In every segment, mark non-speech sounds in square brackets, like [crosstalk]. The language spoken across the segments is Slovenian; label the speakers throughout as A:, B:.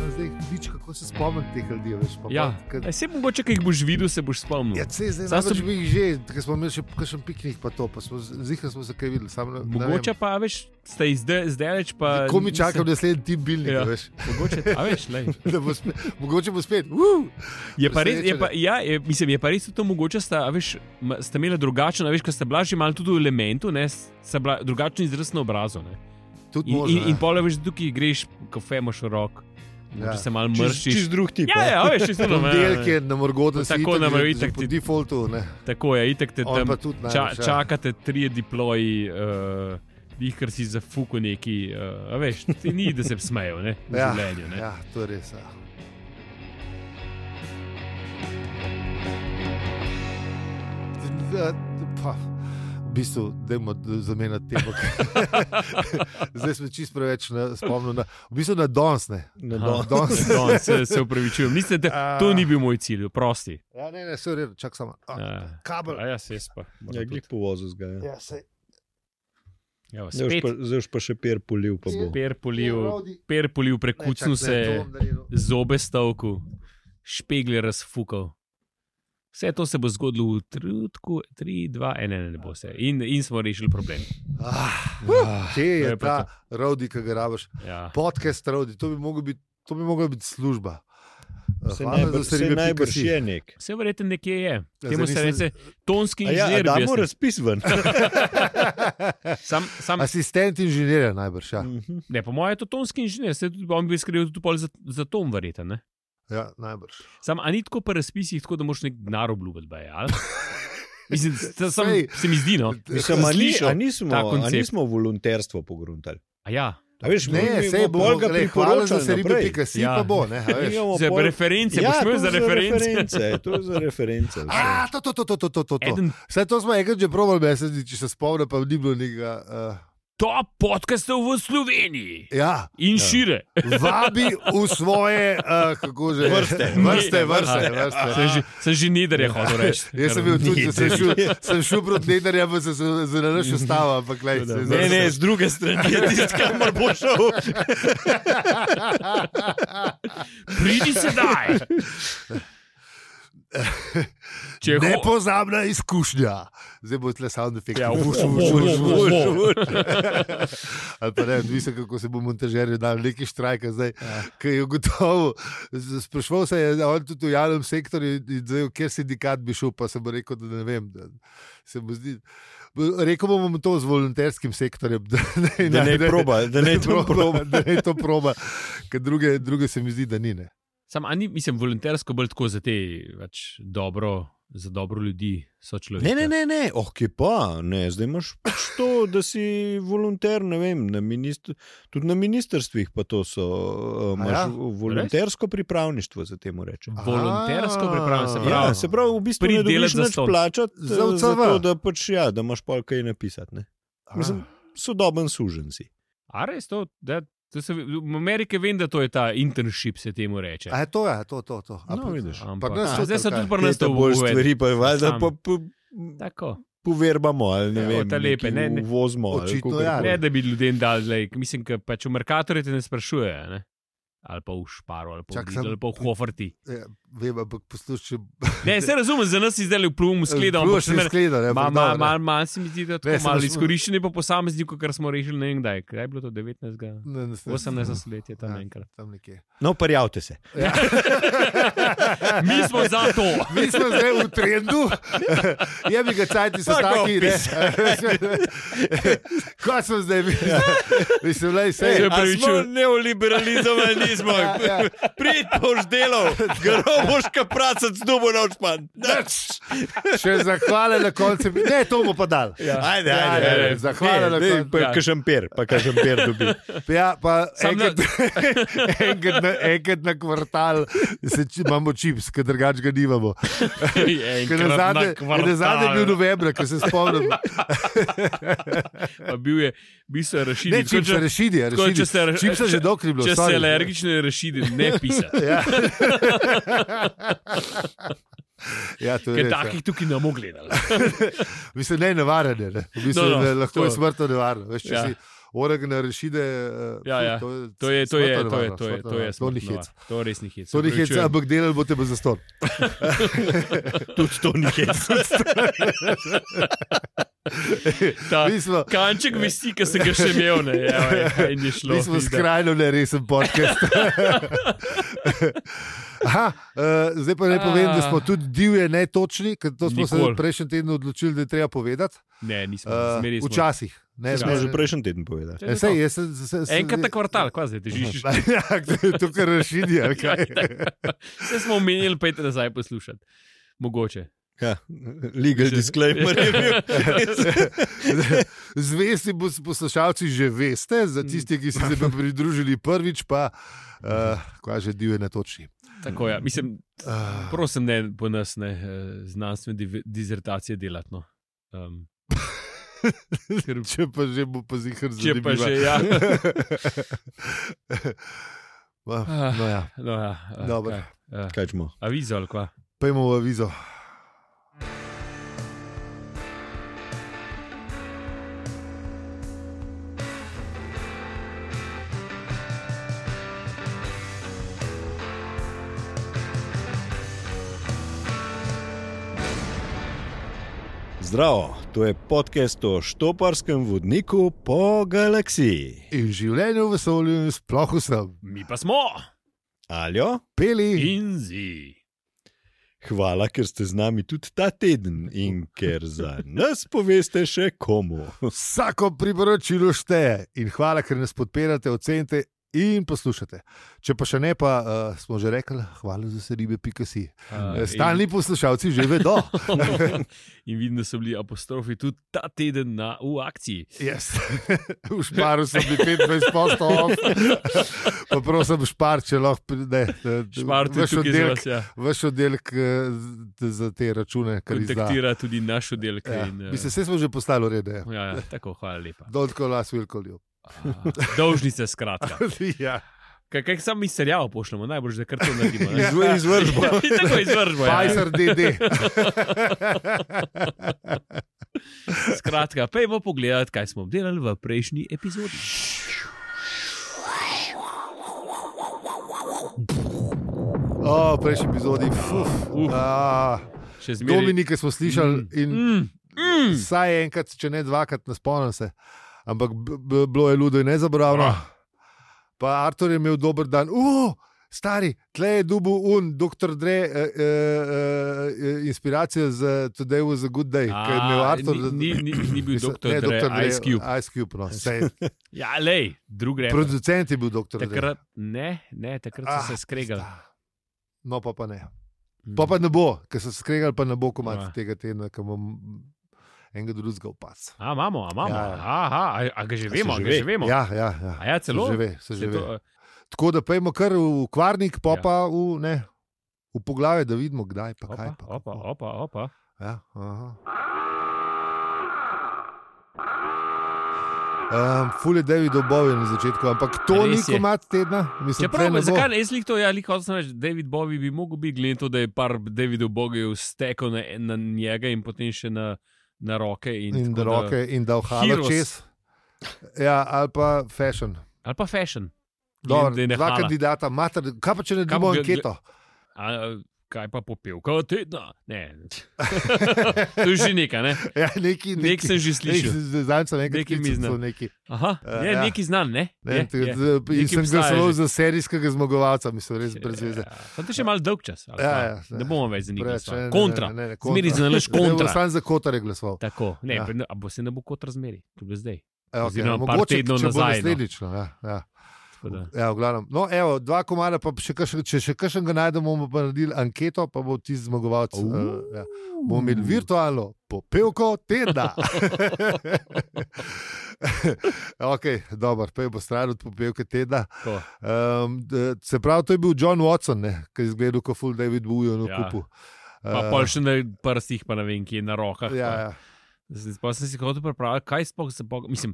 A: hudič, kako se spomniti teh ljudi. Veš, pa,
B: Ja.
A: pa, kad,
B: Aj, se mogoče, ki jih boš videl, se boš spomnil.
A: ja, se zdaj
B: Sam
A: znaš,
B: sem-
A: če bi jih že, ker smo imeli še kakšen piknik, pa to, pa smo, zihar smo se kaj videli. Sam, ne- ne
B: Mogoče
A: vem.
B: pa veš, ste izdelač.
A: Ko mi čakam naslednji tip bilnik,
B: Ja.
A: ja. veš, [laughs]
B: Mogoče, a veš, lej.
A: da bo spet, mogoče bo spet. Uh!
B: Je pa res, je pa, ja, je, mislim, je pa res tudi to mogoče, sta, a veš, ma- sta imela drugačen, a veš, ko sta bila že malo tudi v elementu, ne, s- sta bila drugačen izraz na obrazu. Ne.
A: Tudi
B: In, in,
A: možno.
B: in pole veš, tukaj greš, kafe imaš v rok,
A: ja.
B: ja. se malo
C: Čez, čez
B: mršiš.
C: drug tip.
B: Ja, ja, a veš, čisto na
A: Ponedeljek je na Morgotu, si
B: Tako
A: itak
B: nam
A: že-
B: je
A: že
B: itak
A: po
B: ti-
A: defaultu. Ne.
B: Tako je, itek te
A: On
B: tam.
A: pa tudi
B: Ča,
A: največ, ja.
B: čakate trije diploji, uh, jih kar si zafuku neki, uh, a veš, ti ni, da se smejo ne, v
A: [laughs] Ja,
B: življenju. Ne.
A: ja, to je res. Ja. Da, pa, v bistvu, dajmo d- zamenjati temo. [laughs] Zdaj smo čist preveč na- spomnili na, v bistvu na danes. Ne.
C: Na
B: Aha, [laughs]
C: dol.
A: Danes.
B: Don, se, se upravičujem, Niste, da, to
A: A.
B: ni bil moj cilj, prosti.
A: Ja, ne, ne, se reče, čak samo. A,
B: Ja.
A: kabel.
B: A ja, se jaz pa. moram
C: Ja,
B: tudi.
C: glej po vozu zgaja.
A: Ja, saj.
B: Evo,
C: Zdaj boš
B: Spet
C: pa, zdaj boš pa še per polil, pa
A: Ja.
C: bo.
B: perpoliv,
A: Rodi-
B: perpoliv
A: Ne, čak,
B: prekucnil
A: zdaj to
B: se,
A: bom naredil.
B: zobe stavku, špegle razfukal. Vse to se bo zgodilo v trenutku 3, 2, 1, ne, ne bo se. In, in smo rešili problem.
A: Ah,
C: Ah,
A: Kje
B: To
A: je
B: je pa
A: ta rodi, ki ga rabiš?
B: Ja.
A: podcast rodi, to bi mogla biti, to bi mogla biti služba.
C: Se najbrž, se najbrž je nek.
B: Vse verjetno nekje je.
A: Ja,
B: Temu
A: zdaj
B: se
A: nisem-
B: reče tonski
C: A Ja, a
B: inženir. bi jaz
C: damo
B: rekel.
C: razpis
B: [laughs]
C: ven.
B: sam, sam,
A: Asistent inženirja najbrž. Ja.
C: Mhm.
B: ne, po mojem je to tonski inženir, se tudi on bi skril tudi pol za, za tom, verjeten. ne?
A: Ja, najbrž.
B: Sam, a ni tako po razpisih, tako da moraš nek denar obljubiti, baje, ali? Mislim, sta- sam,
A: Sej.
B: se mi zdi, no.
C: Mislim, a, ni,
B: Slišal
C: a, nismo,
B: ta
C: a
B: koncept.
C: nismo volonterstvo pogruntali.
B: A ja,
C: A veš, mi- mi
A: Ne, se
C: bomo
A: bo
C: pol ga
A: le hvala za
C: priporočali
A: seribe,
C: naprej.
A: pika si
B: Ja.
A: pa bo. Ne, a
C: Mi
A: veš.
C: imamo
B: za
C: No, pol- Ja,
B: reference, boš imel
C: to
B: za
C: je
B: reference.
C: reference. e, To je za
A: [laughs]
C: reference. vse.
A: A, to, to, to, to, to, to, to. to.
B: Eden
A: Vse to smo enkrat že provali, meni se zdi, če se spomnim, pa ni bilo nekega. Uh,
B: top podcastov v Sloveniji
A: ja,
B: in šire.
A: vabi v svoje, uh, kako že
C: Vrste.
A: vrste,
B: Ne,
A: vrste.
B: vrste.
A: vrste.
B: Sem že, sem že nidarja hodil reči.
A: Ja. Jaz sem bil tudi, sem šel, sem šel proti nedarjem, pa sem se zanašal ustavo, ampak le.
C: Ne, ne, z druge strani je tisto, kamor bo šel.
B: Pridi sedaj. Če ho-
A: Nepozabna izkušnja. Zdaj bo tle sound effect.
B: Ja,
A: Vuš,
B: vo,
A: vuš,
B: vo,
A: vuš,
B: vo,
A: vuš,
B: vo.
A: vuš. Ali pa ne, odvisno kako se bo montažerju dal neki štrajk, zdaj, ki je gotovo. Sprašval se je, a on tudi v javnem sektorju, in zdaj, v kjer sindikat bi šel, pa sem mu rekel, da ne vem. Da se mu zdi, rekel bom mu to z volonterskim sektorjem, [laughs] da ne,
C: Da ne proba, da ne to proba.
A: da ne to proba, ker druge, druge se mi zdi, da ni. Ne.
B: Sam, a ni, mislim, volontersko bolj tako za te več dobro, za dobro ljudi, so človek.
C: Ne, ne, ne, ne. oh, kje pa, ne, zdaj imaš pač to, da si volonter, ne vem, na ministr, tudi na ministrstvih pa to so,
A: A
C: uh, imaš
A: ja?
C: ja? volontersko pripravništvo, za temu reče.
B: Volontersko pripravljam, se pravi.
C: Ja, se pravi, v bistvu
B: Pridi
C: ne
B: delat
C: dobiš
B: za
C: nič
B: stonj.
C: plačati, eh,
A: Za UCV.
C: zato, da, pač, ja, da imaš pol kaj napisati. Ne?
A: Aha.
C: Mislim, sodoben sužen si.
B: A res to, da, to se, v Ameriki vem, da to je ta internship, se temu reče.
A: A je to, ja, to, to. to. A
C: No,
A: pri-
C: vidiš.
A: Pri
B: Ampak,
A: nas
B: a,
A: so
B: zdaj se
A: tako,
B: tudi
A: kaj?
B: pri nas
C: Te
B: to
C: bolj
B: uvedli.
C: stvari pa je valjda
B: Sam.
C: po, po,
B: Tako.
C: poverbamo ali ne
B: Ja,
C: vem,
B: ta lepe, ne, ne.
C: vozimo.
A: Očitno ja,
B: Ne, da bi ljudem dal, like, mislim, da pač v Merkatorju te ne sprašujejo. Ne? Ali pa v Šparu, ali pa v
A: Čak,
B: Lidlu,
A: sem-
B: ali pa v
A: [laughs]
B: Hoferti.
A: Ja, Vem, ampak poslušaj.
B: Ne, se razumem, za nas je zdaj le vplum, skledam.
A: Bilo še skleda, ne,
B: Malo
A: ampak dobro, ne.
B: mal, mal, mal se mi zdi, da je
A: eh, Ne,
B: tako
A: samo
B: malo
A: smo-
B: izkoriščenje po posamezniku, kar smo rešili ne vem kdaj. Kdaj je bilo to 19.
A: Ne, ne, ne.
B: 18. letje tam
A: Ja,
B: enkrat.
A: Tam nekje.
C: No, prijavite se.
A: Ja.
B: Mi smo za
A: [laughs]
B: to.
A: Mi smo zdaj v
B: [laughs]
A: trendu, je bi ga cajti so
C: Fuck
A: taki.
C: off,
A: ne. [laughs] Kaj smo zdaj? mi? Mislim, da je
B: Ja. Ej,
A: vse.
B: a smo
C: neoliberalizovali
A: [laughs]
C: nismo.
A: Ja,
C: Prid boš delal, grob boš kapracat z dubo na očpan.
A: Še zahvale na koncu. bi- Ne, to bo pa dal.
C: Ajde,
A: Ja,
C: ajde,
A: ne,
C: ajde.
A: ne, zahvala na koncu.
C: Pa kažem per, pa kažem per dobi.
A: Ja, pa
B: Sam
A: enkrat, [laughs] enkrat, na, enkrat na kvartal se, či- imamo čips, ker drugače ga nimamo. Ker na zadnje- ker na zadnje je bil novembra, ker se spomnim.
B: Pa bil je, bil so rešili.
A: Ne, čipsa, rešidi, je,
B: tako,
A: rešidi.
B: če se-
A: ja, Čipsa že dokri bilo.
B: Če
A: sorry.
B: si alergični, rešili, ne pisati.
A: [laughs] Ja. ja, to je
B: Ker
A: res. Ja.
B: takih tukaj ne bomo gledali.
A: [laughs] Mislim, ne, nevaren je. Ne. Mislim,
B: No,
A: no,
B: no,
A: no, lahko to. je
B: to.
A: smrtno nevarno. Veš, če
B: Ja.
A: ja. si Oregna rešide. eh,
B: Ja,
A: ful,
B: ja.
A: To je,
B: To je, to
A: smrtno
B: je, to je,
A: nevarno,
B: to je,
A: smrtno
B: to je,
A: nevarno. to ni
B: smrtno,
A: hec.
B: To res ni hec.
A: To ni hec,
B: opravičujem. [laughs]
A: ampak delal bo te bo zaston.
C: Tudi to ni
A: [laughs]
C: hec.
B: Ta
A: Mi smo,
B: Kanček visi, ki sem ga še imel, ne, [laughs] ja, ja, in je šlo.
A: mi smo
B: vidiš, da-
A: skrajno neresen
B: [laughs]
A: podcast. Aha, uh, zdaj pa naj povem, da smo tudi divje netočni, ker to smo Nikol.
B: Ah. Nikoli.
A: se prejšnji teden odločili, da je treba povedati.
B: Ne, nismo.
A: Uh,
B: zmeri smo.
A: včasih. Ne,
C: Smo
A: ne,
C: že
A: ne.
C: prejšnji teden povedali.
B: To je to.
A: Sej, jaz sem se.
B: Enkrat na kvartal, kva zdaj
A: [laughs]
B: težiš.
A: Ja, to kar
B: [laughs]
A: rešidi. ali kaj?
B: Vse smo omenili, pejte nazaj poslušati. Mogoče.
C: Ja, legal disclaimer je bil.
A: [laughs] Zvesti pos- poslušalci že veste, za tiste, ki ste se pa pridružili prvič, pa uh, kaže divje netočni.
B: Tako, ja. Mislim,
A: Uh,
B: prosim, ne po nas ne, eh, znanstvene div- dizertacije delati. No.
A: [laughs]
B: Um,
A: Če pa že bo pa zihar
B: če pa že,
A: zanimivo.
B: ja.
A: [laughs] Ma, No ja,
B: No, ja eh,
A: Dobro.
B: kaj, eh,
C: Kaj smo?
B: Avizo ali kva.
A: pojmo v avizo.
C: Zdravo, to je podcast o štoparskem vodniku po galaksiji.
A: In življenje v vesolju in sploh vsem.
B: Mi pa smo
C: Aljo,
A: Peli,
B: in zi.
C: hvala, ker ste z nami tudi ta teden in ker za nas poveste še
A: [laughs]
C: komu.
A: vsako priporočilo šteje in hvala, ker nas podpirate, ocenite in poslušate. Če pa še ne, pa uh, smo že rekli, hvala za se ribe.si.
B: Eh, in-
A: Stalni poslušalci že vedo.
B: [laughs] in vidim, da so bili apostrofi tudi ta teden na, v akciji.
A: Yes. [laughs] v šparu so bili 25 postov,
B: [laughs]
A: pa prosim, špar, če lahko pride.
B: Špar tudi
A: Vaš
B: tukaj za
A: oddelek,
B: vas, ja.
A: vaš oddelek eh, z- za te račune, kar izda.
B: kontaktira tudi naš oddelek.
A: Ja.
B: in, eh,
A: Mislim, vse smo že postali urede.
B: ja, ja, tako, hvala lepa.
A: Don't call us, we'll call you. [laughs]
B: Ah, Dolžnice, skratka.
A: ja.
B: Kaj, kaj sam mi serial pošljemo, najbolj že kar to naredimo. ne?
C: Izv- Izvršbo.
B: [laughs] Ja, tako izvržbo. Ja.
A: Pfizer
B: [laughs]
A: DD.
B: Skratka, pejmo pogledat, kaj smo obdelali v prejšnji epizodi.
A: O, prejšnji epizodi. Fuf.
B: Uf.
A: Ah,
B: Še zmeraj.
A: Dominike smo slišali in
B: Mm, mm.
A: Vsaj enkrat, če ne dvakrat, ne spomnim se. Ampak b- b- bilo je ludo in nezabavno.
B: Ah.
A: Pa Artur je imel dober dan, uh, stari, tle je dubu un, doktor Dre, eh, eh, eh, inspiracija za Today was a good day. ki je imel
B: A,
A: Artur za-
B: ni, ni, ni, ni bil
A: [laughs] Mislim,
B: doktor,
A: ne,
B: Dre,
A: Dr. Dre,
B: Ice Cube.
A: Ice Cube no.
B: [laughs]
A: Sej,
B: Ja, lej, drug reper.
A: producent je bil doktor Dre. Ah,
B: Takrat, ne, ne, takrat so se skregali. Mhm.
A: No, pa, pa ne. Pa, pa ne bo, ker so se skregali, pa ne bo komat
B: Ja.
A: tega tedna, ki bom enega drugega upas.
B: A imamo, a imamo.
A: Ja,
B: Ja,
A: ja.
B: Aha, a, a ga že
C: A
B: vemo, a
C: se že
B: ga
C: ve?
B: že vemo.
A: Ja, ja, ja.
B: A ja, celo.
A: Se že ve, se
B: Se
A: že
B: to,
A: ve.
B: eh,
A: Tako da pojmo kar v kvarnik, pa
B: Ja.
A: pa v, ne, v poglavje, da vidimo, kdaj pa kaj.
B: Opa,
A: Pa,
B: opa,
A: kako.
B: opa, opa.
A: Ja, aha. Um, Fule David obovje na začetku, ampak to ni
B: Res je.
A: komat tedna. Mislim,
B: Ja,
A: tle
B: prav,
A: ne bo.
B: zakaj ne? Jaz lik to, ja, lik hočem reči, David Bowie bi mogel biti, glede na to, da je par Davidov bogev stekel na, na njega in potem še na, na roke. In,
A: In da
B: tako
A: roke in da ohala
B: Heroes.
A: čez. Ja, ali pa fashion.
B: Ali pa fashion.
A: Dobro,
B: Glede na
A: dva
B: hala.
A: kandidata, mater, kaj pa če ne
B: Kam
A: dobimo
B: ga-
A: anketo?
B: A, kaj pa popevka od tedna? Ne.
A: [laughs]
B: to je že nekaj, ne?
A: Ja, neki,
B: Nek
A: neki,
B: sem že slišal.
A: Zdaj sem enkrat
B: Neki mi
A: klical,
B: zna.
A: so neki.
B: Aha,
A: Eh,
B: je
A: ja.
B: neki znan, ne?
A: Ne,
B: Je, je.
A: je, je.
B: Nekaj
A: Sem
B: obstaja
A: glasoval
B: že.
A: za serijskega zmagovalca, mislim, res brez veze.
B: Ja, pa to je še malo dolg čas. ali
A: Ja,
B: pa
A: ja,
B: ne bomo več
A: Preveč, ne, ne,
B: zanimali. Kontra.
A: ne, ne, ne,
B: Zmeri
A: kontra.
B: znaš
A: Ne, bo
B: kontra.
A: Sam za Kotar je glasoval.
B: Tako, ne,
A: Ja.
B: ja. a bo se ne bo kot razmeri, tudi zdaj.
A: E, okay,
B: Oziroma par
A: mogoče,
B: tednov
A: če bo
B: nazaj, no.
A: naslednjič. No. Ja, ja.
B: Tako da-
A: Ja, v glavnem. no, evo, dva komada, pa še kakšen, če še kakšen ga najdemo, bomo pa naredili anketo, pa bo ti zmagovalec. Uh, ja. Bomo imeli virtualno popevko tedna. [laughs] ok, dobro, pa je bo stran od popevke tedna.
B: Tako.
A: Um, d- se pravi, to je bil John Watson, ne, ki je izgledal kot Full David Bowie na
B: Ja.
A: kupu.
B: Pa
A: Eh,
B: pol še na prstih, pa ne vem, kje na rokah.
A: Ja, ja.
B: Pa. Zdaj pa sem si hotel pripraviti, kaj sploh se bo. Mislim,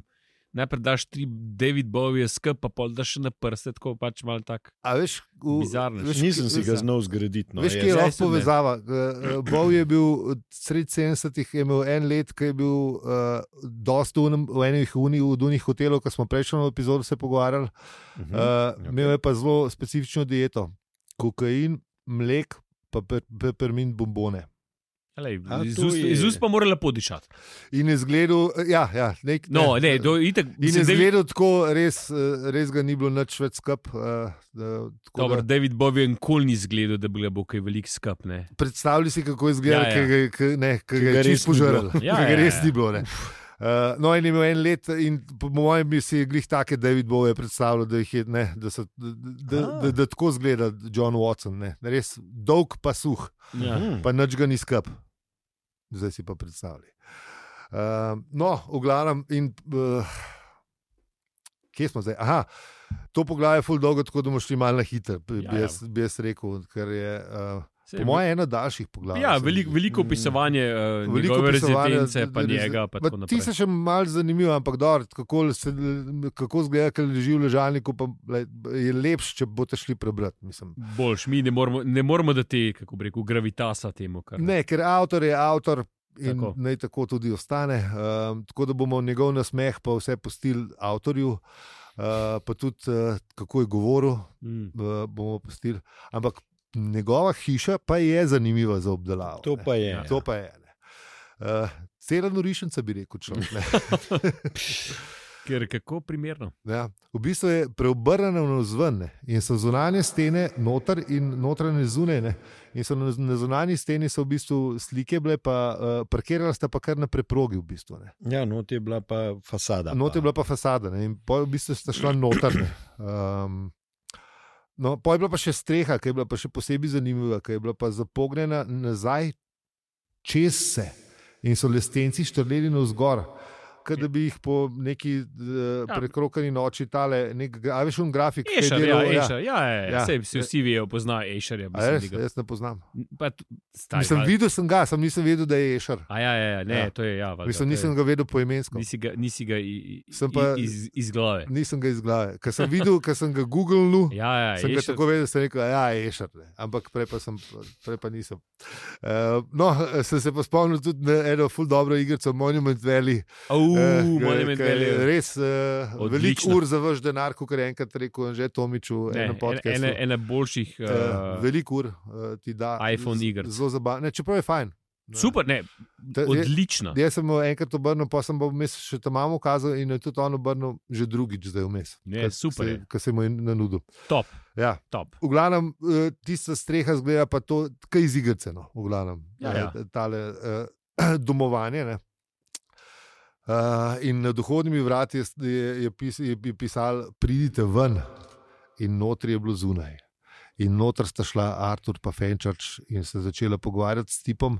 B: najprej daš tri David Bovije skup, pa pol daš še na prste, tako pač malo tak.
A: A veš, v,
B: Bizarno.
A: veš,
C: Nisem si ga
A: veš-
C: znal zgraditi. No,
A: Veš,
C: jaz.
A: kje je
B: zdaj
A: lahko
B: sem ne.
A: povezava? Eh, eh, Bov je bil od sred 70-ih, je imel en let, ki je bil uh, dosta v enem- v enih uni- v unih hotelov, ko smo prejšnjo epizodo se pogovarjali.
C: Mhm.
A: Uh,
C: okej.
A: imel je pa zelo specifično dieto. Kokain, mlek, pa pe- pepermint bombone.
B: Lej,
C: A,
B: iz,
C: to
B: ust,
C: je-
B: iz ust pa mora lepo dišati.
A: In je zgledal, ja, ja nek,
B: No, ne, to je itak.
A: In je
B: mislim, David,
A: zgledal tako, res, eh, res ga ni bilo nič več skup. Uh,
B: dobro, David Bovije je nikoli ni zgledal, da bi le bil kaj velik skup. Ne.
A: Predstavljaj si, kako je izgledal,
B: Ja, ja.
A: ja, ja. ki
C: Ke
A: ga je
C: ga res
A: čist
C: ni
A: požrl.
B: bilo. Ja,
A: Ja, ja,
B: ja,
A: res
B: ja.
A: ni bilo. ne. Uh, no, in je imel en let, in po mojem, bi si glih take David Bowie predstavljal, da, jih je, ne, da, so, da, da,
C: Ah.
A: da, da tako zgleda John Watson. Ne. Res dolg pa suh,
B: Ja.
C: Mhm.
A: pa nič ga ni skup. Zdaj si pa predstavljaj. Uh, no, v glavnem, in uh, kje smo zdaj? Aha, to poglavje je full dolgo, tako da bomo šli malo na hiter, bi,
B: Ja,
A: bi,
B: ja.
A: jaz, bi jaz rekel, ker je. Uh,
B: Saj
A: Po
B: je-
A: mojem, eno daljših poglavij.
B: Ja,
A: se mhm. mi
B: veliko,
A: zdi.
B: veliko opisovanje uh, njegove
A: opisovanja,
B: rezidence, pa
A: da- da-
B: njega. Pa
A: Ma,
B: tako
A: ti
B: naprej.
A: si še malo zanimiv, ampak dobro, kako, se, kako zgleda, ker leži v ležalniku, pa lej, je lepše, če boste šli prebrati. Mislim.
B: Boljš, mi ne moramo, ne moramo dati, kako bi rekel, gravitasa temu. Kar...
A: Ne, ker avtor je avtor. In
B: Tako.
A: tako. naj tako tudi ostane. Um, tako da bomo njegov nasmeh pa vse pustili avtorju, uh, pa tudi uh, kako je govoril,
B: Mm.
A: uh, bomo pustili. Ampak njegova hiša pa je zanimiva za obdelavo.
C: To
A: ne.
C: pa je.
B: Ja.
A: To pa je. ne. Uh, Cela norišnica bi rekel človek. ne.
B: Ker kako primerno.
A: Ja. V bistvu je preobrnjeno navzven ne. in so zunanje stene noter in notranje zunaj. ne. In so na, na zunanji steni so v bistvu slike bile, pa uh, parkirala sta pa kar na preprogi. V bistvu, ne.
C: Ja, not je bila pa fasada.
A: Not
C: pa.
A: No, je bila pa fasada ne. in pol v bistvu sta šla noter. ne. Um, No, pa je bila pa še streha, ki je bila pa še posebej zanimiva, ki je bila pa zapognjena nazaj čez se in so lestenci štrleli navzgor. Kot da bi jih po neki uh,
B: Ja.
A: prekrokani noči tale, nek, gra- a veš, un grafik, ki je
B: Ešer,
A: delal,
B: ja, ešer, ja, ja, ja.
A: Ja.
B: Sej, vsi, vsi vejo, poznajo Ešerja.
A: A
B: Mislim,
A: res,
B: da ga-
A: jaz ne poznam.
B: Pa tu- stari,
A: Mislim,
B: valjda.
A: videl sem ga, sem nisem vedel, da je ješar.
B: A ja, ja, ja, ne, ja.
A: Ja.
B: to je ja. Valjda,
A: Mislim,
B: to je-
A: nisem ga vedel poimensko.
B: Nisi ga, nisi ga i, i,
A: Sem pa-
B: iz, iz glave.
A: Nisem ga iz glave. Ker sem videl, ker sem ga googlil.
B: Ja, ja,
A: Sem ga
B: Ešer-
A: tako vedel, da sem rekel, da je šar, ampak prej pa, sem, prej pa nisem. Uh, no, sem se pa spomnil tudi na eno ful dobro igrico Monument Valley.
B: Au,
A: eh,
B: uh,
A: ke-
B: monument
A: ke
B: velje.
A: je Res uh, veliko
B: Odlična.
A: ur za vaš denar, kot je enkrat rekel že Tomiču,
B: Ne,
A: eno
B: ena,
A: podcast.
B: ena, ena boljših.
A: Eh,
B: Uh,
A: Veliko ur uh, ti da.
B: iPhone
A: z-
B: igric.
A: Zelo zabavno, čeprav je fajn. Ne.
B: super, ne,
A: Ta- je-
B: odlična.
A: Jaz sem jo enkrat obrnil, pa sem pa vmes še tam imamo ukazal in jo je tudi on obrnil že drugič, zdaj vmes.
B: Ne,
A: Ker
B: super
A: se-
B: je.
A: Ker se mu je nanudil.
B: Top,
A: Ja.
B: top.
A: V glavnem, eh, tista streha zgleda pa to, kaj iz igrice, no, v glavnem.
B: Ja,
A: Eh,
B: ja.
A: Tale eh, [clears throat] domovanje. Ne. Uh, in na dohodnimi vrati je, je, je, pis, je, je pisal, pridite ven, in notri je bilo zunaj. In noter sta šla Artur in Fenčarč in se začela pogovarjati s tipom,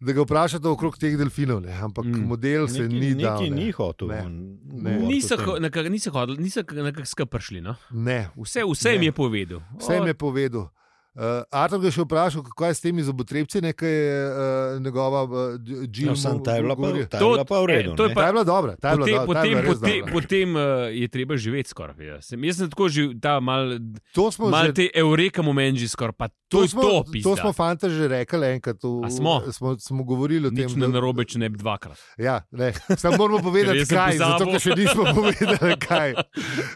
A: da ga vprašate okrog teh delfinov, ne? ampak
B: Mm.
A: mm. model se
C: Nekaj-
A: ni dal.
C: Nekaj
A: Ne.
C: ni hotel.
A: Ne.
C: on
A: Ne.
C: govoriti o
B: Niso
C: tem.
B: ho- nekako- Niso hodili, niso nekako skupaj prišli. No?
A: Ne.
B: Vse, vse jim
A: Ne.
B: je povedal.
A: Vse jim je povedal. Uh, Artur ga je še vprašal, kako je s temi zobotrebci, nekaj je uh, njegova
C: Ja,
A: Džilma.
C: samo ta je bila
A: govorila.
C: pa, ta
B: To-
C: je bila pa v redu.
B: e, to je
C: ne.
B: pa-
A: Ta je bila dobra, ta je bila
B: Potem,
A: dobra, ta je
B: potem,
A: bila res
B: potem,
A: dobra.
B: potem uh, je treba živeti skoraj. ja. Sem- Jaz sem tako že ta mal,
A: To smo
B: mal
A: že
B: te eureka moment že skoraj, pa to, to je
A: smo,
B: to
A: to
B: pismo.
A: smo fanta že rekli enkrat. V,
B: A smo?
A: Smo, smo govorili o tem,
B: Nič ne narobe, če ne bi dvakrat.
A: Ja, ne. Samo moramo
B: Ker
A: povedati,
B: jaz sem
A: kaj je.
B: pozabil.
A: Zato, ker še nismo [laughs] povedali, kaj.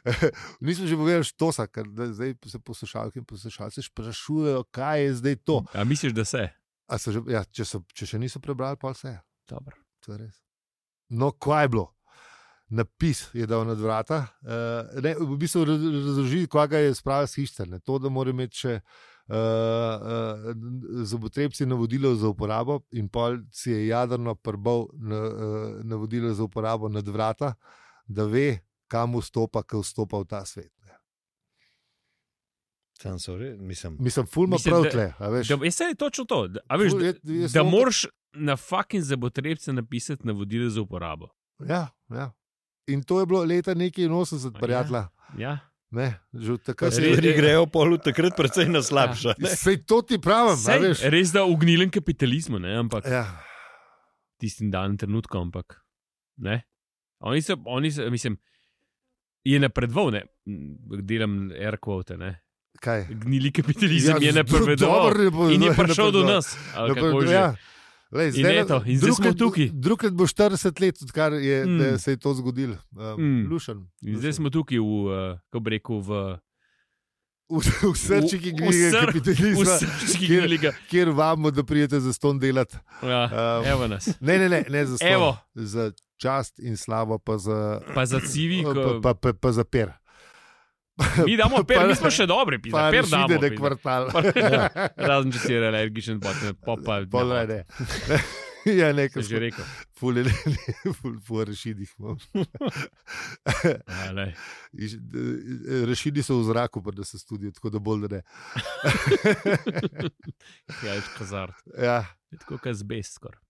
A: [laughs] nismo že povedali štosa, ker da zdaj se poslušalke in poslušalci sprašujejo, kaj je zdaj to.
B: A misliš, da se?
A: A so Že, ja, če, so, če še niso prebrali, pa vse.
B: Dobro.
A: To je res. No, kaj je bilo? Napis je dal nad vrata. Uh, ne, v bistvu raz- razloži, kaj ga je spravil s hišter. Ne. To, da mora imeti še uh, uh, zobotrebci navodilo za uporabo, in pol si je jadrno prbal na, uh, navodilo za uporabo nad vrata, da ve, kam vstopa, ko vstopa v ta svet. Ne.
C: Tam so re- mislim,
A: Mislim, fulma
B: Mislim,
A: prav
B: da-
A: tle. a veš.
B: Da, jaz se je točno to. Da, a veš,
A: Ful,
B: da,
A: jaz- jaz
B: da
A: sem-
B: moraš na fucking zabotrebce napisati navodile za uporabo.
A: Ja, ja. In to je bilo leta 1980,
B: Ja.
A: prijatelja.
B: Ja.
A: Ne, že od
C: Ko
A: takrat
C: se
A: je-
C: stvari grejo polu, takrat precej na
A: Ja,
C: slabše.
A: [laughs]
C: ne.
A: Sej to ti pravim, a
B: Sej,
A: veš.
B: res da ugnilem kapitalizmu, ne, ampak
A: Ja.
B: tistim danem trenutkom. Ampak, ne? Oni so, oni so mislim, je napredoval, ne, delam air quote, ne.
A: Kaj?
B: Gnili kapitalizem ja, je napredoval.
A: dobro je bilo,
B: In je
A: ne,
B: prišel do
A: napredoval.
B: nas. ali
A: Napredo-
B: kako že.
A: ja. Lej,
B: In eto, in zdaj smo tukaj.
A: Drugkrat bo 40 let, odkar je,
B: Mm.
A: mm. se je to zgodilo. Um,
B: Mm.
A: mm. Lušen.
B: In zdaj smo tukaj, v, eh, kako bi rekel, v,
A: v, v srčiki
B: v
A: gnjega
B: sr- v
A: kapitalizma,
B: srčki
A: ja. kjer-
B: knjiga.
A: kjer vamo, da prijete za ston delati. [laughs]
B: Ja,
A: Um,
B: evo nas.
A: Ne, ne, ne, ne za ston.
B: Evo.
A: Za čast in slavo, pa za,
B: Pa za civi,
A: pa,
B: ko,
A: pa, pa, pa za per.
B: mi damo per,
A: pa-
B: mi smo še dobri, pisa,
A: Pa
B: per damo.
A: rešite, da
B: pizda.
A: kvartal.
B: Ja. [laughs] Razen če si alergičen, pa te pa pa
A: Pol ne,
B: ne.
A: ne. ja, ne, [laughs]
B: Sem
A: ker
B: že
A: že
B: rekel.
A: ful, je- [laughs] ful, ful rešidih imam.
B: Ja, glej.
A: Iš- d- Rešidi so v zraku, pa da se studijo, tako da bolj da ne.
B: Ja, je kazar.
A: Ja.
B: Je Tako kot zbest skoraj.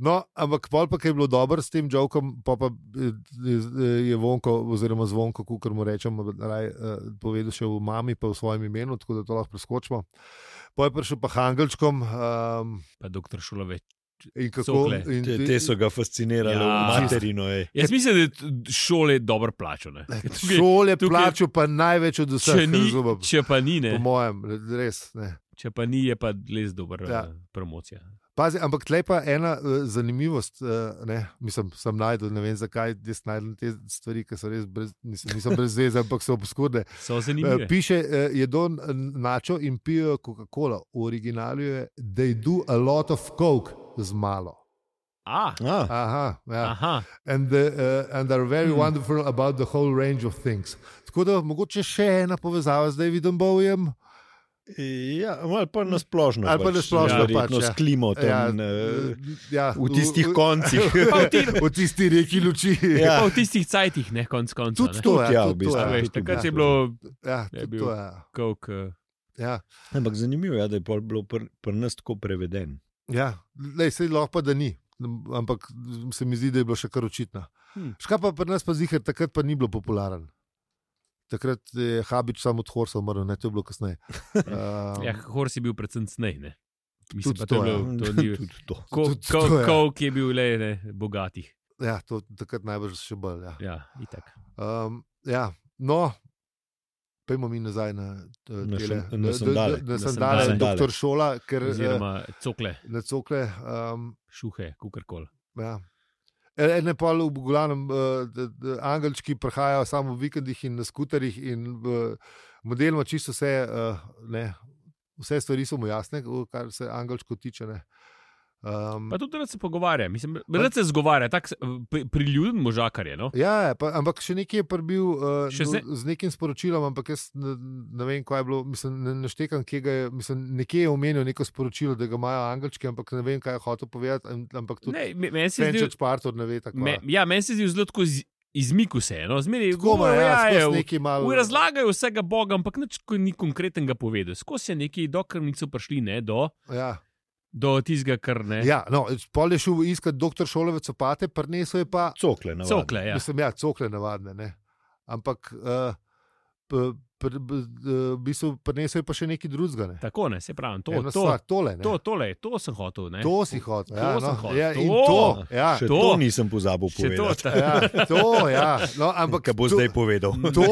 A: No, ampak pol pa, ki je bilo dobro s tem jokom, pa, pa eh, eh, je vonko, oziroma zvonko, kako mu rečemo, raj, eh, povedal še v mami, pa v svojem imenu, tako da to lahko preskočimo. Pa je prišel pa Hangelčkom um,
B: Pa doktor Šulovec.
A: in kako.
B: Cokle.
A: In,
C: Te, te so ga fascinirali,
B: Ja.
C: ja. materino je.
B: Jaz mislim, da je t- šole dobro plačane.
A: Eh, Šole
B: [laughs] tukaj-
A: plačo pa največ od vseh,
B: Če, ni,
A: razumem.
B: če pa ni,
A: Po
B: ne.
A: mojem, res. Ne.
B: Če pa ni, je pa les dober
A: Ja.
B: ja. promocija.
A: Pazi, ampak tle pa ena uh, zanimivost, uh, ne, mislim, sem najdel, ne vem zakaj, jaz najdem te stvari, ki so res brez, nisem, nisem brez veze, ampak so obskurne.
B: So
A: Uh,
B: zanimivi.
A: piše, uh, jedo n- načo in pijo Coca-Cola. V originalu je, da jedo a lot of coke z malo.
B: A,
C: Ah,
A: Aha, ja.
B: aha,
A: and, the, uh, and are very
B: Hmm.
A: mm. wonderful about the whole range of things. Tako da mogoče še ena povezava, zdaj vidim bojem.
C: ja, ali pa nasplošno.
A: Ali pa
C: pač,
A: na splošno
C: ja,
A: pač,
C: verjetno
A: ja.
C: S klimo tam, ja,
A: Ja, ja,
C: v tistih
A: [laughs]
C: koncih.
B: Pa v ti-
A: v tisti reki luči.
C: Ja.
B: pa v tistih cajtih, ne konc koncev.
A: Tudi
B: ne.
A: to,
C: Tudi, ja,
A: ja,
C: v
A: tudi
C: bistvu.
A: to,
B: A
A: ja.
B: veš,
C: tudi
B: Takrat
C: to.
B: je bilo,
A: Ja, tudi
B: Je bil.
A: to, ja.
B: koliko, eh,
A: Ja,
C: Ampak zanimivo je, da je pol bilo pri pr nas tako preveden.
A: ja. Lej, sej lahko pa da ni, ampak se mi zdi, da je bilo še kar očitna.
B: Hm.
A: Hmm. Ška pa pri nas pa zihar, takrat pa ni bilo popularen. Takrat je Habič samo od Horsa umrl, ne, to je bilo
B: [laughs]
A: kasneje. Um,
B: ja, Hors je bil predvsem snej. ne.
A: Tudi
B: Mislim, pa to je
A: to, ja.
B: bilo, to ni
C: Tudi to.
B: Ko-
A: Tudi to,
B: ko-
A: ja.
B: Kolik je bil le ne, bogatih.
A: ja, to takrat najbrž še bolj. Ja.
B: Ja, itak.
A: Um, ja. No, pojmo mi nazaj na, eh,
C: Na
A: tele,
C: šan- na
A: da- da-
C: sandale.
A: da- Na
B: Na
A: sandale,
B: sandale.
A: doktor Šola, ker eh,
B: Oziroma cokle,
A: na cokle. Um,
B: šuhe, kukorkoli.
A: Ja. Ene pol v Gulanem, angelčki prihajajo samo v vikendih in na skuterjih, in eh, modelno čisto vse, eh, ne, vse stvari so mu jasne, o kar se angelčko tiče. ne. Um,
B: Pa tudi rad se pogovarja, mislim, rad se zgovarja, tako se- pri- priljubljen možakar je. No?
A: Ja, je, pa, ampak še nekaj je prebil uh,
B: Še
A: no,
B: zdaj-
A: z nekim sporočilom, ampak jaz ne, ne vem, kaj je bilo. Mislim, ne neštekam, kje ga je. Mislim, nekje je omenil neko sporočilo, da ga imajo angelčki, ampak ne vem, kaj je hotel povedati. am- Ampak tudi
B: Ne, me- meni se je zdelo,
A: Frenčič Partor ne ve tako.
B: me, ja, meni se je zdelo tako iz, izmik vseeno, no. zmeraj
A: Tako ima,
B: govoril,
A: ja,
B: je,
A: skozi
B: v-
A: nekaj malo.
B: v razlagajo vsega Boga, ampak nič ko ni konkretnega povedal. Skozi je neki, dokler niso prišli ne, do,
A: Ja.
B: do tistega, kar ne.
A: Ja, no, pol je šel iskat doktor Šolovec opate, prinesel je pa,
C: Cokle, na
B: Cokle,
A: ja.
B: ja.
A: mislim, ja, cokle navadne. Ne? Ampak uh, pr, pr, pr, v bistvu prinesel je pa še nekaj drugega. Ne?
B: Tako ne, se pravi, to,
A: Ena
B: to,
A: stvar, tole, ne.
B: to, tole, to sem hotel. Ne.
A: to si hotel.
B: To
A: Ja,
B: sem
A: no,
B: hotel.
A: ja, in
B: To.
A: to, ja,
C: Še
B: To.
C: to, to nisem pozabil
B: Še to,
C: povedati.
B: ta,
A: ja, to, ja. No, ampak
C: Kaj bo
A: to-
C: zdaj povedal? [laughs]
A: To,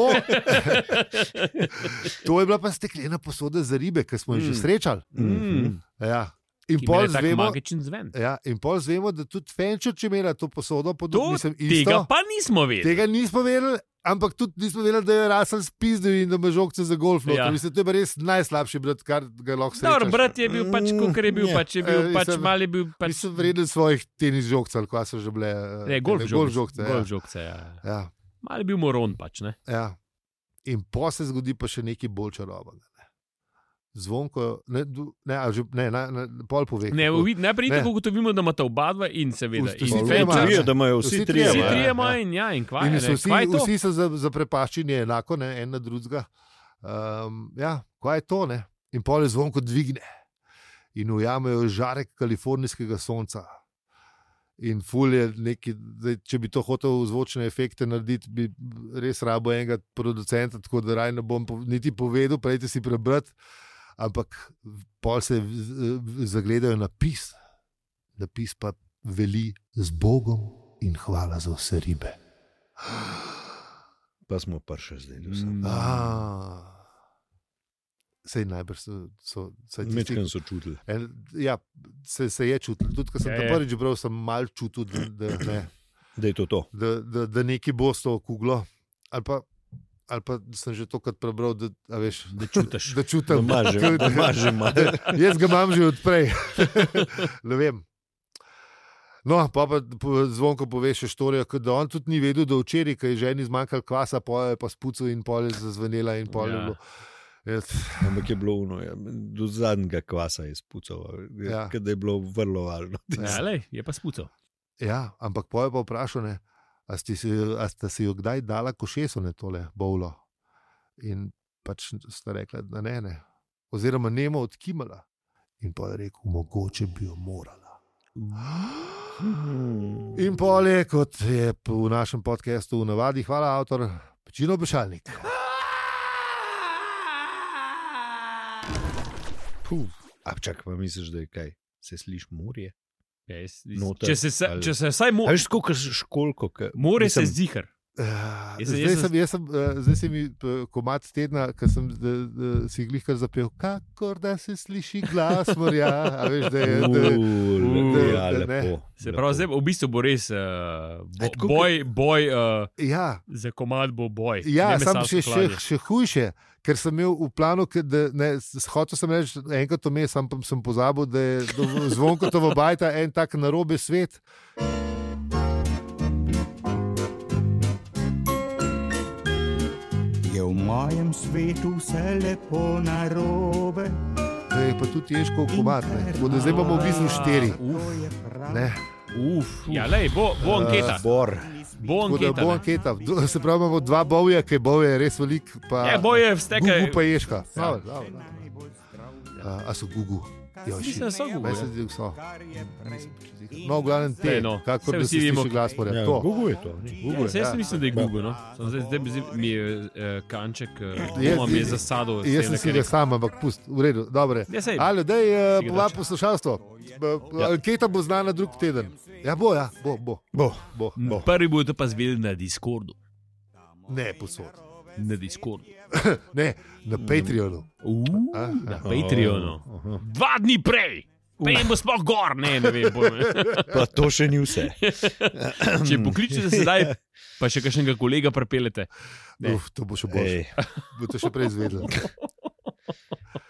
A: to je bila pa steklena posoda za ribe, ki smo jih že
B: Mm.
A: srečali.
C: Mhm.
A: Ja. In
B: ki
A: pol
B: imela tak
A: zvemo,
B: magičen zven.
A: ja, in pol zvemo, da tudi Fenčer je imela to posodo,
B: To,
A: podobno sem
B: tega pa nismo vedeli.
A: Tega nismo vedeli, ampak tudi nismo vedeli, da je rasel spizdel in da ima žogce za golf.
B: Ja.
A: Ja. Mislim, to je pa res najslabši brat, kar ga lahko
B: Dobro,
A: srečaš.
B: brat je bil pač, kot je bil,
C: Mm,
B: pač je bil,
A: ne.
B: pač
A: Eh, mislim-
B: mal je bil. Pač,
A: Nisem vreden svojih tenis žogcev, ali kva so že bile. eh,
B: ne, golf
A: tele-
B: žog,
A: žogce.
B: Golf
A: Ja.
B: žogce, ja.
A: Ja,
B: Mal je bil moron pač, ne.
A: ja. In po se zgodi pa še nekaj bolj čarobnega. ne. Zvonko, ne, du- ne, a že, ne, na, na, pol pove.
B: Ne,
A: kako.
B: uvid, najprej
A: Ne.
B: tako ugotovimo, da imata oba dva in seveda.
A: Vsi trije
B: In Fenčer-
A: imajo,
C: Ugotovijo, da imajo vsi
A: Vsi
C: trije.
A: trije
B: Vsi
A: imajo.
B: trije
A: Ja.
B: imajo in ja, in kva je.
A: In so
B: ne,
A: vsi,
B: kva je to?
A: vsi so za, za prepaščenje enako, ne, en na drugega. Um, ja, kaj je to? Ne? In pol je zvonko dvigne in ujamejo žarek kalifornijskega sonca. In ful je neki, zdaj, če bi to hotel zvočne efekte narediti, bi res rabo enega producenta, tako da raj ne bom po- niti povedal, prejte si prebrati. Ampak pol se v- v- zagledajo napis, napis pa veli z Bogom in hvala za vse ribe.
C: Pa smo prišli zdaj do
A: Mm,
B: Mm,
C: sem.
A: Ah. Sej najbrž so, so saj tisti,
C: Mečkan so čutili.
A: en, ja, se, se je čutil. Tudi, ko sem
B: Ja,
A: ja,
B: ja.
A: prvič bral, sem mal čutil, da, da, ne,
C: Da je to to.
A: da, da, da neki bo s to kuglo. Ali pa, ali pa sem že tokrat prebral, da, a veš,
B: Da čutiš.
A: da
C: Da
A: čutim.
C: mažem, da mažem. malo.
A: [laughs] Jaz ga imam že odprej. [laughs] ne vem. No, pa, pa po- zvonko poveš štorijo, kot da on tudi ni vedel, da včeraj, ko je ženi zmanjkalo kvasa, pol je pa spucu in pol je zazvenela in pol je
B: Ja.
A: bilo. Jaz, [laughs]
C: Ampak je bilo uno, ja. do zadnjega kvasa je spucal,
A: Ja.
C: ja. ker je bilo vrlo varno.
B: Ja, lej, je pa spucal.
A: ja, ampak pol je pa vprašal, ne, a, ste si, a sta si jo kdaj dala košeso, ne tole, bolo. In pač sta rekla, da ne, ne. Oziroma, nemo odkimala. In pa je rekel, mogoče bi jo morala. In pol je, kot je p- v našem podkastu v navadi, hvala, avtor Pečino Bešalnik.
C: Puh. A čak, pa misliš, da je kaj? Se sliši morje?
B: Ja, jaz-
C: Noter,
B: Če se, sa-
C: ali-
B: če se vsaj
C: A
B: more,
C: veš, koliko je školko? Ka,
B: more se
C: mislim,
B: zdihar.
A: Eh,
B: Jaz sem-
A: Zdaj
B: jaz sem-
A: sem, jaz sem, eh, zdaj se mi komat tedna, ker sem eh, eh, si glih kar zapel, kakor da se sliši glas morja. A veš, da je, da,
C: U,
A: da-
C: ja,
A: da ne.
C: lepo.
B: Se
C: lepo.
B: pravi, zdaj, v bistvu bo res uh, bo,
C: E, tako kot-
B: boj, boj uh,
A: ja,
B: za komad bo boj.
A: Ja,
B: ne
A: sam
B: mesalsko
A: še, še,
B: klanje.
A: še hujše, ker sem imel v planu, ke- da ne, s- s- hotel sem reči enkrat to mes, sam pa sem pozabil, da je zvonko to vabajta en tak narobe svet.
D: Je v mojem svetu vse lepo narobe.
A: Da je pa tudi težko ukomatne. Tako da zdaj imamo v bistvu štiri.
D: Uf, to je prav.
A: Ne.
B: Uf, ja, lej, bo, bo anketa. Uh,
C: Bor.
B: bo
A: Tako da
B: anketa.
A: bo
B: ne.
A: anketa. Do- Se pravi, imamo dva bovja, ki bovje je res velik.
B: Ja, boj je
A: Gugu
B: vstekaj.
A: pa ježka.
B: Ja.
A: Dobro, dobro, dobro. A, a so gugu? Jo,
B: Mislim, da so gugu,
A: Meni
B: ja.
A: se zdi, da so.
D: Kar je prej
A: No, v glavnem te,
B: Saj, no.
A: kakor
B: Saj
A: da
B: vsi
A: se
B: vemo,
A: sliši glas morja.
C: Ja,
A: To.
C: Google je to. ni? Google
B: Jaz
C: je.
B: ja. mislim, da je Google. No? Samo Zdaj, zdaj bi- mi je uh, kanček,
A: Jaz-
B: uh, mi je zasadil.
A: Jaz sem si ga sam, ampak pust, v redu, dobro.
B: Ja, sej.
A: Ali da je
B: Si ga
A: bila
B: daš.
A: poslušalstvo? Ja. Anketa eh, bo znana drug teden. Ja, bo, ja, bo, bo.
C: Bo.
A: bo.
B: No. Prvi bo to pa zvedel na Discordu.
A: Ne, posod.
B: Na Discordu.
A: Ne, na Patreonu.
B: Uh,
A: A?
B: na Patreonu. Dva dni prej. Pejem bo sploh gor, ne, ne vem. boj me.
C: Pa to še ni vse.
B: [clears throat] Če pokličete sedaj, pa še kakšnega kolega prepelete. Ne.
A: Uf, to bo še bolj.
C: Ej,
A: Bo to še prej izvedel.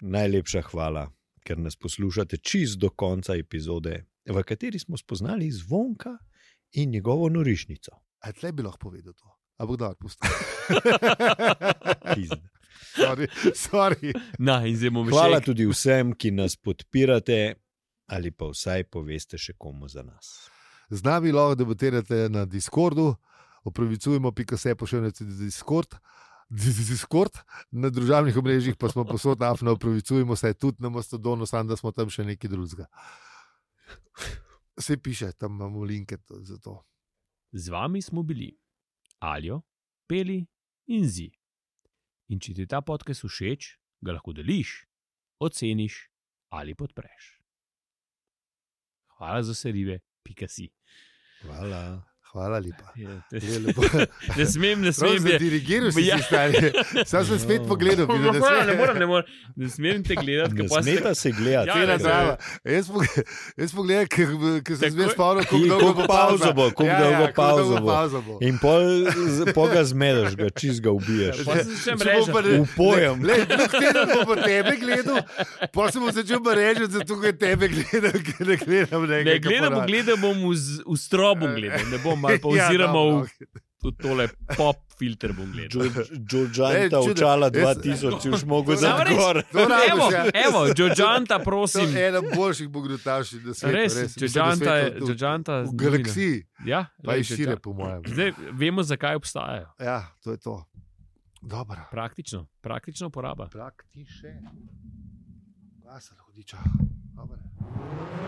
C: najlepša hvala, ker nas poslušate čist do konca epizode, v kateri smo spoznali zvonka in njegovo norišnico.
A: A tle bi lahko povedal to. Ampak da, pusti.
C: Pizda.
A: [laughs] Sorry, sorry.
B: Na, in zdaj bomo še.
C: Hvala tudi vsem, ki nas podpirate, ali pa vsaj poveste še komu za nas.
A: Z nami lahko debatirate na Discordu, opravičujemo, pika se pošiljate na Discord. Discord, na družbenih omrežjih pa smo posod afna, opravičujemo se tudi na Mastodonu, samo da smo tam še neki drugega. Vse piše, tam imamo linke to- za to.
B: Z vami smo bili Aljo, Peli in Zi. In če ti je ta podcast všeč, ga lahko deliš, oceniš ali podpreš. Hvala za vse ribe, pika si.
C: Hvala.
A: Hvala lepa.
B: [laughs]
A: Je
B: Ne
A: lepo.
B: smem, ne
A: Prav
B: smem. je-
A: Zadirigiral si
B: Ja.
A: si stari. Sam sem spet pogledal,
B: Ne
A: videl, da
B: morem, ne
A: se-
B: morem, ne morem. Ne smem te gledati,
C: Ne
B: kako pa
C: smeta se
B: Ja,
C: gledati.
A: Cena
B: [laughs] ne,
C: Ker-
A: zdrava. Jaz, pogled, jaz pogledam, ker- ker sem
B: Takoj.
A: zmeraj spomnil,
C: In
A: kako
C: koliko pauzo bo, koliko
A: Ja,
C: dolgo pauzo bo.
A: bo.
C: In pol z- pol ga zmedeš, ga čist ga ubiješ.
B: Pa se začnem
A: Če bom pa
B: reči.
A: ne-
C: Upojem.
A: Le, le, drug teden bom pa tebe gledal, pa sem bom začel pa reči, da tukaj tebe gledam, ker ne gledam nekaj.
B: Ne, gledam, bom gledal bom v, z- v strobu, gledal, ne bom
A: Ja, [laughs]
B: ali pa oziroma v, v tole pop filter bom gledal.
C: Džočanta
A: Ej, čude,
C: učala
A: jaz-
C: 2000, če už mogo
A: To
C: za
A: moram
B: Samo reči,
C: gor.
A: To rabiš,
B: Evo,
A: ja.
B: evo, Džožanta,
A: To
B: prosim.
A: je ena boljših bogataših, da se
B: Res, Džožanta je. Džožanta
A: V galaksiji,
B: Ja,
A: pa
B: lej,
A: je šire,
B: Džodžan-
A: po mojem.
B: Zdaj vemo, zakaj obstajajo.
A: Ja, to je to. Dobro.
B: Praktično, praktična uporaba.
A: Praktiše. Glasal, hudiča. Dobro.